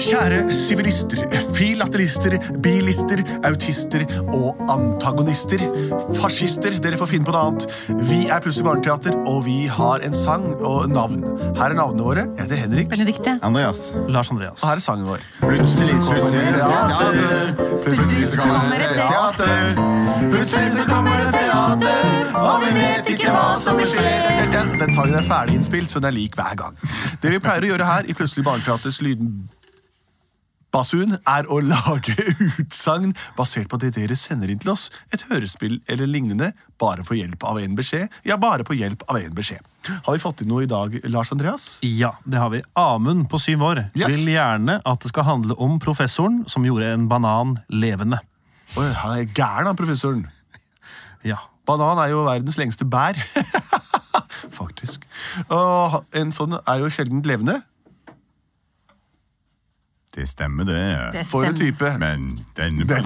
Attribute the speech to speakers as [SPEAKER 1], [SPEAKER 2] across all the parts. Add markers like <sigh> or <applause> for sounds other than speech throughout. [SPEAKER 1] Kjære sivilister, filatelister, bilister, autister og antagonister. Fascister, dere får finne på noe annet. Vi er Plutselig barneteater, og vi har en sang og navn. Her er navnene våre. Jeg heter Henrik.
[SPEAKER 2] Benedikte.
[SPEAKER 3] Andreas.
[SPEAKER 4] Lars Andreas.
[SPEAKER 1] Og her er sangen vår.
[SPEAKER 3] Plutselig kommer det
[SPEAKER 1] teater.
[SPEAKER 3] teater. Plutselig så kommer det teater. Plutselig så kommer det teater. Og vi vet ikke hva som vil skje.
[SPEAKER 1] Den, den sangen er ferdig innspilt, så den er lik hver gang. Det vi pleier å gjøre her i Plutselig barneteaters lyd... Basun er å lage utsagn basert på det dere sender inn til oss, et hørespill eller lignende, bare på hjelp av en beskjed. Ja, bare på hjelp av en beskjed. Har vi fått inn noe i dag, Lars Andreas?
[SPEAKER 4] Ja, det har vi. Amund på syv år
[SPEAKER 1] Yes.
[SPEAKER 4] vil gjerne at det skal handle om professoren som gjorde en banan levende.
[SPEAKER 1] Oi, han er gæren, han professoren.
[SPEAKER 4] Ja.
[SPEAKER 1] Banan er jo verdens lengste bær. <laughs> Faktisk. Og en sånn er jo sjelden levende.
[SPEAKER 3] Det stemmer, det.
[SPEAKER 2] Det
[SPEAKER 1] For en
[SPEAKER 2] stemmer.
[SPEAKER 1] type.
[SPEAKER 3] Men
[SPEAKER 1] <laughs>
[SPEAKER 3] den <laughs>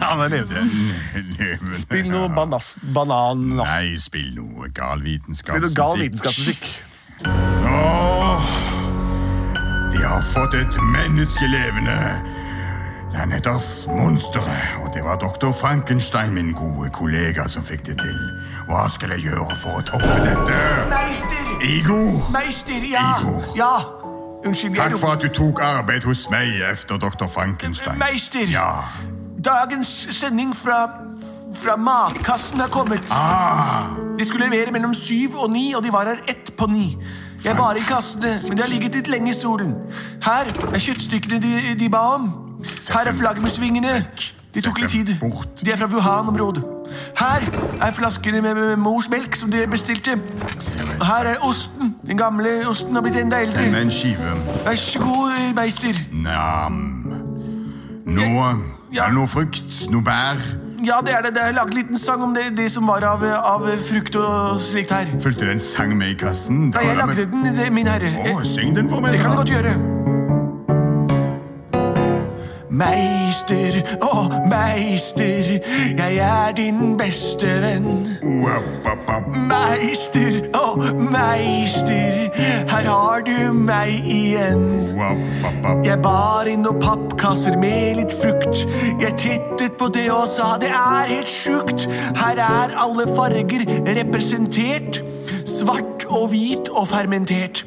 [SPEAKER 1] Han er levende. Spill noe banas, banan...
[SPEAKER 3] Nei, spill noe gal
[SPEAKER 1] Spill noe gal
[SPEAKER 3] vitenskapsmusikk.
[SPEAKER 1] vitenskapsmusikk.
[SPEAKER 3] Åh, de har fått et menneske levende. Det er nettopp monsteret, og det var doktor Frankenstein, min gode kollega, som fikk det til. Hva skal jeg gjøre for å toppe dette?
[SPEAKER 1] Meister!
[SPEAKER 3] Igor,
[SPEAKER 1] Meister, ja!
[SPEAKER 3] Igor.
[SPEAKER 1] Ja! Unnskyld, jeg
[SPEAKER 3] takk for at du tok arbeid hos meg efter doktor Frankenstein.
[SPEAKER 1] Meister!
[SPEAKER 3] Ja.
[SPEAKER 1] Dagens sending fra, fra matkassen har kommet.
[SPEAKER 3] Ah,
[SPEAKER 1] De skulle levere mellom syv og ni, og de var her ett på ni. Jeg bar inn kassene, men de har ligget litt lenge i solen. Her er kjøttstykkene de, de ba om. Her er flaggermusvingene. De tok litt tid. De er fra Wuhan-området. Her er flaskene med, med mors melk som de bestilte. Her er osten. Den gamle osten har blitt enda
[SPEAKER 3] send
[SPEAKER 1] eldre.
[SPEAKER 3] meg en skive.
[SPEAKER 1] Vær så god, meister.
[SPEAKER 3] Nam. Noe, er det noe frukt, noe bær?
[SPEAKER 1] Ja, det er det. Det er laget en liten sang om det, det som var av, av frukt og slikt her.
[SPEAKER 3] Fulgte det en sang med i kassen?
[SPEAKER 1] Nei, jeg lagde den, det, min herre.
[SPEAKER 3] Å,
[SPEAKER 1] Eh,
[SPEAKER 3] syng den for meg.
[SPEAKER 1] Det kan jeg
[SPEAKER 3] da.
[SPEAKER 1] godt gjøre. Meister, å meister, jeg er din beste venn.
[SPEAKER 3] Opp, opp, opp.
[SPEAKER 1] Meister, å meister, her har du meg igjen.
[SPEAKER 3] Opp, opp, opp.
[SPEAKER 1] Jeg bar inn noen pappkasser med litt frukt. Jeg tittet på det og sa det er helt sjukt. Her er alle farger representert. Svart og hvit og fermentert.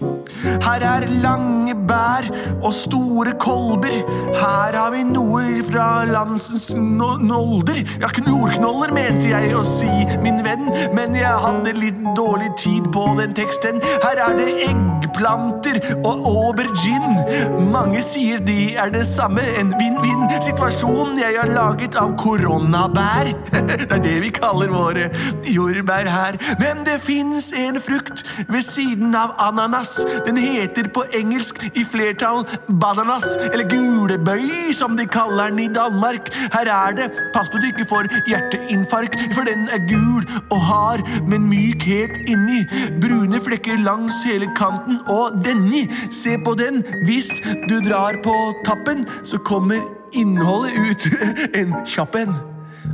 [SPEAKER 1] Her er lange bær og store kolber. Her har vi noe fra landsens no nolder. Ja, jordknoller mente jeg å si, min venn, men jeg hadde litt dårlig tid på den teksten. Her er det eggplanter og aubergine. Mange sier de er det samme, en vinn-vinn-situasjon jeg har laget av koronabær. <laughs> Det er det vi kaller våre jordbær her. Men det fins en frukt ved siden av ananas. Den heter på engelsk i flertall bananas, eller gulebøy som de kaller den i Danmark. Her er det, pass på at du ikke får hjerteinfarkt, for den er gul og hard, men myk helt inni. Brune flekker langs hele kanten, og denne, se på den. Hvis du drar på tappen, så kommer innholdet ut <laughs> en kjapp en.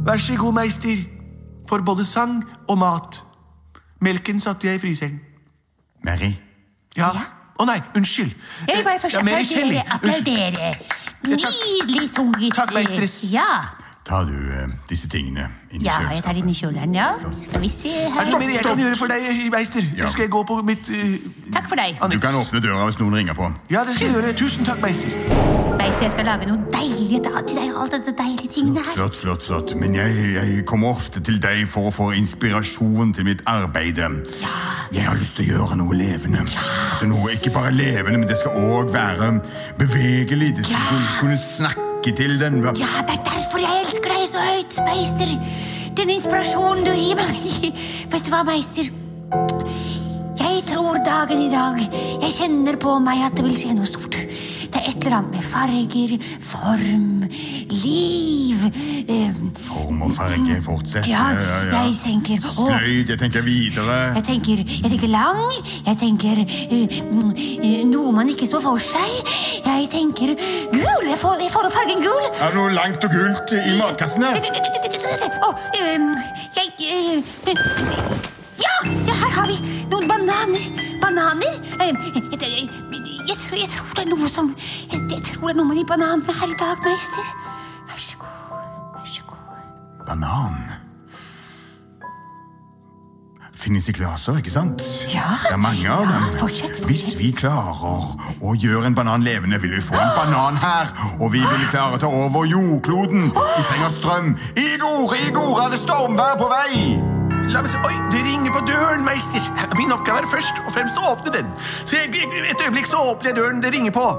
[SPEAKER 1] Vær så god, meister, for både sang og mat. Melken satte jeg i fryseren.
[SPEAKER 3] Mary.
[SPEAKER 1] Ja. Å nei, unnskyld.
[SPEAKER 2] Jeg vil bare
[SPEAKER 1] Eh,
[SPEAKER 2] først
[SPEAKER 1] ja, Mary Shelley.
[SPEAKER 2] applaudere.
[SPEAKER 1] Unnskyld.
[SPEAKER 2] applaudere.
[SPEAKER 1] Ja, takk.
[SPEAKER 2] Nydelig sunget.
[SPEAKER 1] Takk, meistress.
[SPEAKER 2] Ja.
[SPEAKER 3] Tar du eh, disse tingene inn i
[SPEAKER 2] ja, jeg tar inn i kjoleren. Ja. Skal vi se
[SPEAKER 1] Er det
[SPEAKER 2] her.
[SPEAKER 1] noe mer jeg kan gjøre for deg, meister?
[SPEAKER 3] Ja.
[SPEAKER 1] Skal jeg gå på mitt eh,
[SPEAKER 2] Takk for deg.
[SPEAKER 3] Du kan åpne døra hvis noen ringer på.
[SPEAKER 1] Ja, det skal jeg gjøre. Tusen takk, meister.
[SPEAKER 2] Meister, jeg skal lage noe deilig da til deg. Alt dette deilige tingene her.
[SPEAKER 3] Flott, flott, flott. Men jeg, jeg kommer ofte til deg for å få inspirasjon til mitt arbeid. Jeg har lyst til å gjøre noe levende. Altså noe ikke bare levende, men det skal òg være bevegelig. Det skal kunne- kunne snakke til den. Hva-
[SPEAKER 2] Ja, det er derfor jeg elsker deg så høyt, meister. Den inspirasjonen du gir meg. <laughs> Vet du hva, meister? Jeg tror dagen i dag Jeg kjenner på meg at det vil skje noe stort. eller annet med farger, form, liv eh,
[SPEAKER 3] Form og farge, fortsett.
[SPEAKER 2] Mm. Ja, jeg tenker å,
[SPEAKER 3] Sløyd, jeg tenker videre.
[SPEAKER 2] jeg tenker, jeg tenker lang, jeg tenker eh, mm, eh, noe man ikke så for seg. Jeg tenker gul, jeg får, jeg får opp fargen gul.
[SPEAKER 3] Er det noe langt og gult i matkassen her?
[SPEAKER 2] Å, ehm, jeg eh, eh, Ja, ja, her har vi noen bananer. Bananer? Ehm, Jeg, jeg, jeg, tror, jeg tror det er noe som jeg, jeg tror det er noe med de bananene her i dag, meister. Vær så god. Vær så god.
[SPEAKER 3] Banan. Finnes i glaser, ikke sant?
[SPEAKER 2] Ja.
[SPEAKER 3] Det er mange av
[SPEAKER 2] Ja,
[SPEAKER 3] dem.
[SPEAKER 2] fortsett, fortsett.
[SPEAKER 3] Hvis vi klarer å gjøre en banan levende, vil vi få en banan her. Og vi vil klare å ta over jordkloden. Vi trenger strøm. Igor, Igor, er det stormvær på vei?
[SPEAKER 1] La meg se. Oi, det ringer på døren, meister. Min oppgave er først og fremst å åpne den. Så jeg, et øyeblikk så åpner jeg døren det ringer på.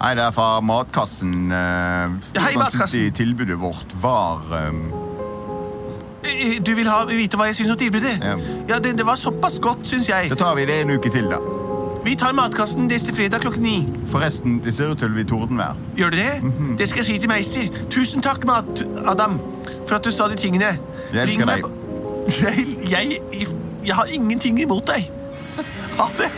[SPEAKER 3] Nei, det er fra matkassen. eh,
[SPEAKER 1] Hei,
[SPEAKER 3] hvordan
[SPEAKER 1] matkassen.
[SPEAKER 3] synes de Tilbudet vårt var eh,
[SPEAKER 1] Eh, Du vil ha, vite hva jeg syns om tilbudet?
[SPEAKER 3] Ja.
[SPEAKER 1] Ja, det, det var såpass godt, syns jeg.
[SPEAKER 3] Da tar vi det en uke til, da.
[SPEAKER 1] Vi tar matkassen neste fredag klokken ni.
[SPEAKER 3] Forresten, det ser ut til å bli tordenvær.
[SPEAKER 1] Gjør du det?
[SPEAKER 3] Mhm.
[SPEAKER 1] Det skal jeg si til meister. Tusen takk, Mat-Adam, for at du sa de tingene.
[SPEAKER 3] Jeg
[SPEAKER 1] Ring
[SPEAKER 3] elsker
[SPEAKER 1] meg
[SPEAKER 3] deg.
[SPEAKER 1] på- Jeg, jeg, jeg har ingenting imot deg. Ha det.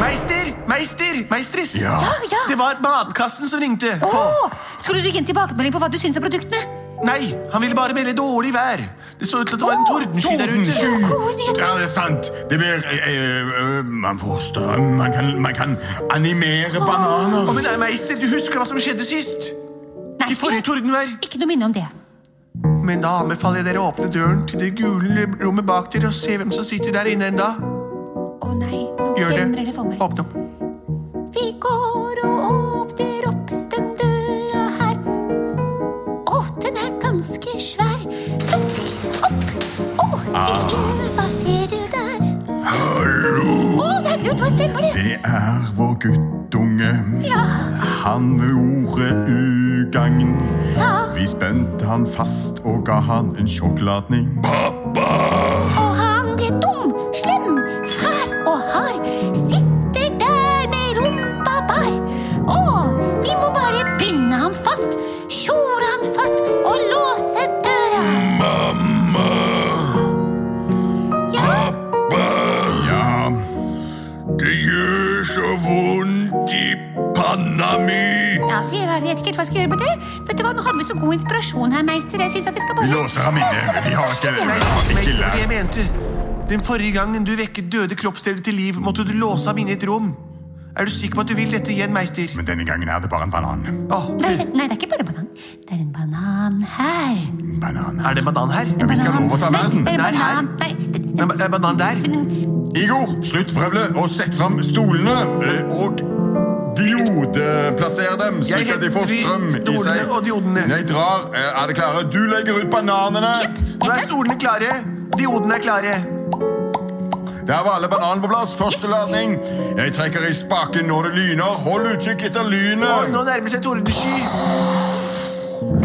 [SPEAKER 1] Meister! Meister! Meistris!
[SPEAKER 3] Ja.
[SPEAKER 2] Ja, ja.
[SPEAKER 1] Det var matkassen som ringte.
[SPEAKER 2] Å,
[SPEAKER 1] På.
[SPEAKER 2] skulle du gi en tilbakemelding på hva du syns om produktene?
[SPEAKER 1] Nei, han ville bare melde dårlig vær. Det så ut til at det var en tordensky der ute.
[SPEAKER 2] Ja, gode nyheter.
[SPEAKER 3] Ja, det er sant. Det blir eh, eh, Man får strøm. Man kan, man kan animere
[SPEAKER 1] Å,
[SPEAKER 3] bananer.
[SPEAKER 1] men nei, Meister, du husker hva som skjedde sist?
[SPEAKER 2] Nei,
[SPEAKER 1] I forrige tordenvær.
[SPEAKER 2] Ikke noe minne om det.
[SPEAKER 1] Men da anbefaler jeg dere å åpne døren til det gule rommet bak dere og se hvem som sitter der inne enda.
[SPEAKER 2] Å nei, nå
[SPEAKER 1] Gjør
[SPEAKER 2] demrer
[SPEAKER 1] det.
[SPEAKER 2] det for meg.
[SPEAKER 1] Åpne opp.
[SPEAKER 2] Vi går og åpner opp den døra her. Å, den er ganske svær. Dukk opp. Å, til inne, hva ser du der?
[SPEAKER 3] Hallo!
[SPEAKER 2] Å, det er Gud, hva stemmer det?
[SPEAKER 3] Det er vår guttunge.
[SPEAKER 2] Ja,
[SPEAKER 3] Han gjorde ugagn.
[SPEAKER 2] ja.
[SPEAKER 3] Vi spente han fast og ga han en sjokkladning.
[SPEAKER 2] Og han ble dum, slem, fæl og hard. Sitter der med rumpa bar. Å, vi må bare binde ham fast. Tjore han fast og låse døra. Mamma. Ja.
[SPEAKER 3] Ja, det gjør så vondt i panna mi.
[SPEAKER 2] Ja, vi jeg vet ikke helt hva jeg skal gjøre med det. Vet du hva, Nå hadde vi så god inspirasjon her, meister. Jeg synes at vi skal
[SPEAKER 3] Vi
[SPEAKER 2] bare...
[SPEAKER 3] låser ham inne. Vi har ikke, vi har ikke
[SPEAKER 1] Meister, det jeg
[SPEAKER 3] lært.
[SPEAKER 1] mente. Den forrige gangen du vekket døde kroppsdeler til liv, måtte du låse ham inne i et rom. Er du sikker på at du vil dette igjen, Meister?
[SPEAKER 3] Men denne gangen er det bare en banan.
[SPEAKER 1] Å,
[SPEAKER 2] Nei, det, nei, det er ikke bare banan. Det er en banan her.
[SPEAKER 3] Banan.
[SPEAKER 1] er det en banan her?
[SPEAKER 3] vi skal
[SPEAKER 2] Banan.
[SPEAKER 3] overta verden.
[SPEAKER 2] Nei, det er
[SPEAKER 1] Nei,
[SPEAKER 2] en
[SPEAKER 1] her.
[SPEAKER 2] banan. Nei, det,
[SPEAKER 1] Det er en banan der.
[SPEAKER 3] Igor, slutt vrøvle og sett fram stolene eh, og diodeplasser dem,
[SPEAKER 1] Jeg
[SPEAKER 3] slik at de får
[SPEAKER 1] henter
[SPEAKER 3] strøm i
[SPEAKER 1] stolene
[SPEAKER 3] seg.
[SPEAKER 1] og diodene.
[SPEAKER 3] Jeg drar. Eh, Er det klare? Du legger ut bananene.
[SPEAKER 1] Nå er stolene klare. Diodene er klare.
[SPEAKER 3] Der var alle bananene på plass. Første ladning. Jeg trekker i spaken når det lyner. Hold utkikk etter
[SPEAKER 1] Oi,
[SPEAKER 3] lynet.
[SPEAKER 1] nå nærmer seg tordensky.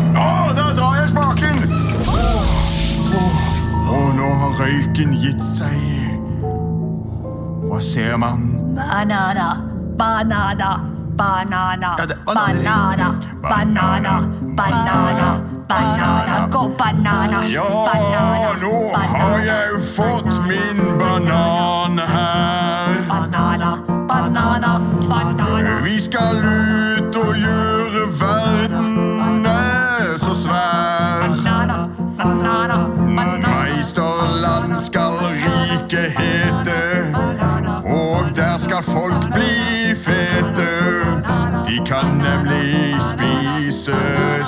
[SPEAKER 3] Å, der drar jeg spaken! Åh, Og nå har røyken gitt seg. Hva ser man?
[SPEAKER 2] banana. Banana. Banana.
[SPEAKER 1] Ja, det er bananer.
[SPEAKER 2] Banana. Banana. Banana. Banana. Gå banana.
[SPEAKER 3] Ja,
[SPEAKER 2] Banana.
[SPEAKER 3] nå har jeg fått min banan her.
[SPEAKER 2] Banana. Banana. Banana.
[SPEAKER 3] Vi skal ut og gjøre verden eh, så svær.
[SPEAKER 2] Banana. Banana. Banana.
[SPEAKER 3] Meisterland skal riket hete, og der skal folk bli fete. De kan nemlig spise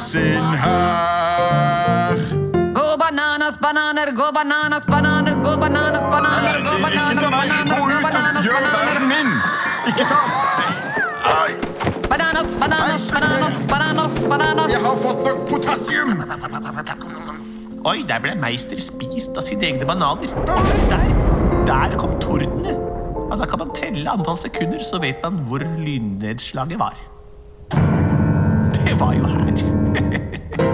[SPEAKER 3] sin hær.
[SPEAKER 5] Go bananas, bananer, go bananas, bananer, go bananas, bananer, go bananas,
[SPEAKER 3] Ikke ta meg!
[SPEAKER 5] bananer,
[SPEAKER 3] Gå
[SPEAKER 5] go
[SPEAKER 3] ut og
[SPEAKER 5] bananas,
[SPEAKER 3] gjør
[SPEAKER 5] bananer,
[SPEAKER 3] verden min! Ikke ta Ai,
[SPEAKER 5] bananas, bananas,
[SPEAKER 3] Nei,
[SPEAKER 5] bananas, bananas, bananas.
[SPEAKER 3] Jeg har fått nok potassium!
[SPEAKER 1] Oi, der ble Meister spist av sine egne bananer. Der, der kom tordene. Ja, da kan man telle antall sekunder, så vet man hvor lynnedslaget var. Det var jo her.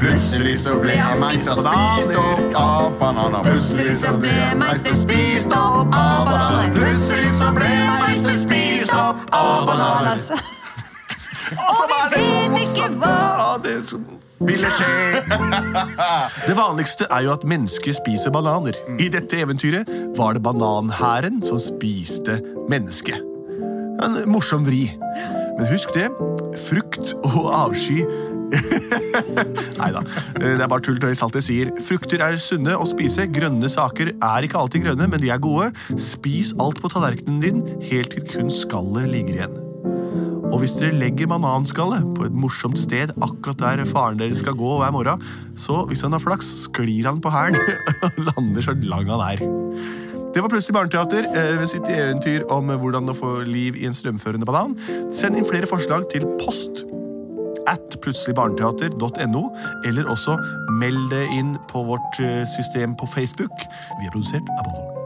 [SPEAKER 3] Plutselig så ble jeg meister spist opp av bananer. Plutselig så ble jeg meister spist opp av bananer. Plutselig så ble jeg meister spist
[SPEAKER 5] av bananas.
[SPEAKER 2] altså.
[SPEAKER 5] Og vi vet ikke hva
[SPEAKER 1] Ja, det som
[SPEAKER 3] Ville skje.
[SPEAKER 1] <laughs> Det vanligste er jo at mennesker spiser bananer. I dette eventyret var det bananhæren som spiste mennesket. En morsom vri. Men husk det. Frukt og avsky <laughs> Nei da, det er bare tull tøys alt jeg sier. Frukter er sunne å spise. Grønne saker er ikke alltid grønne, men de er gode. Spis alt på tallerkenen din helt til kun skallet ligger igjen. Og hvis dere legger bananskallet på et morsomt sted akkurat der faren deres skal gå hver morgen, så hvis han har flaks, sklir han på hælen <laughs> og lander så lang han er. Det var Plutselig barneteater eh, ved sitt eventyr om hvordan å få liv i en strømførende banan. Send inn flere forslag til post at plutseligbarneteater.no, eller også meld det inn på vårt eh, system på Facebook. Vi er produsert av Bollo.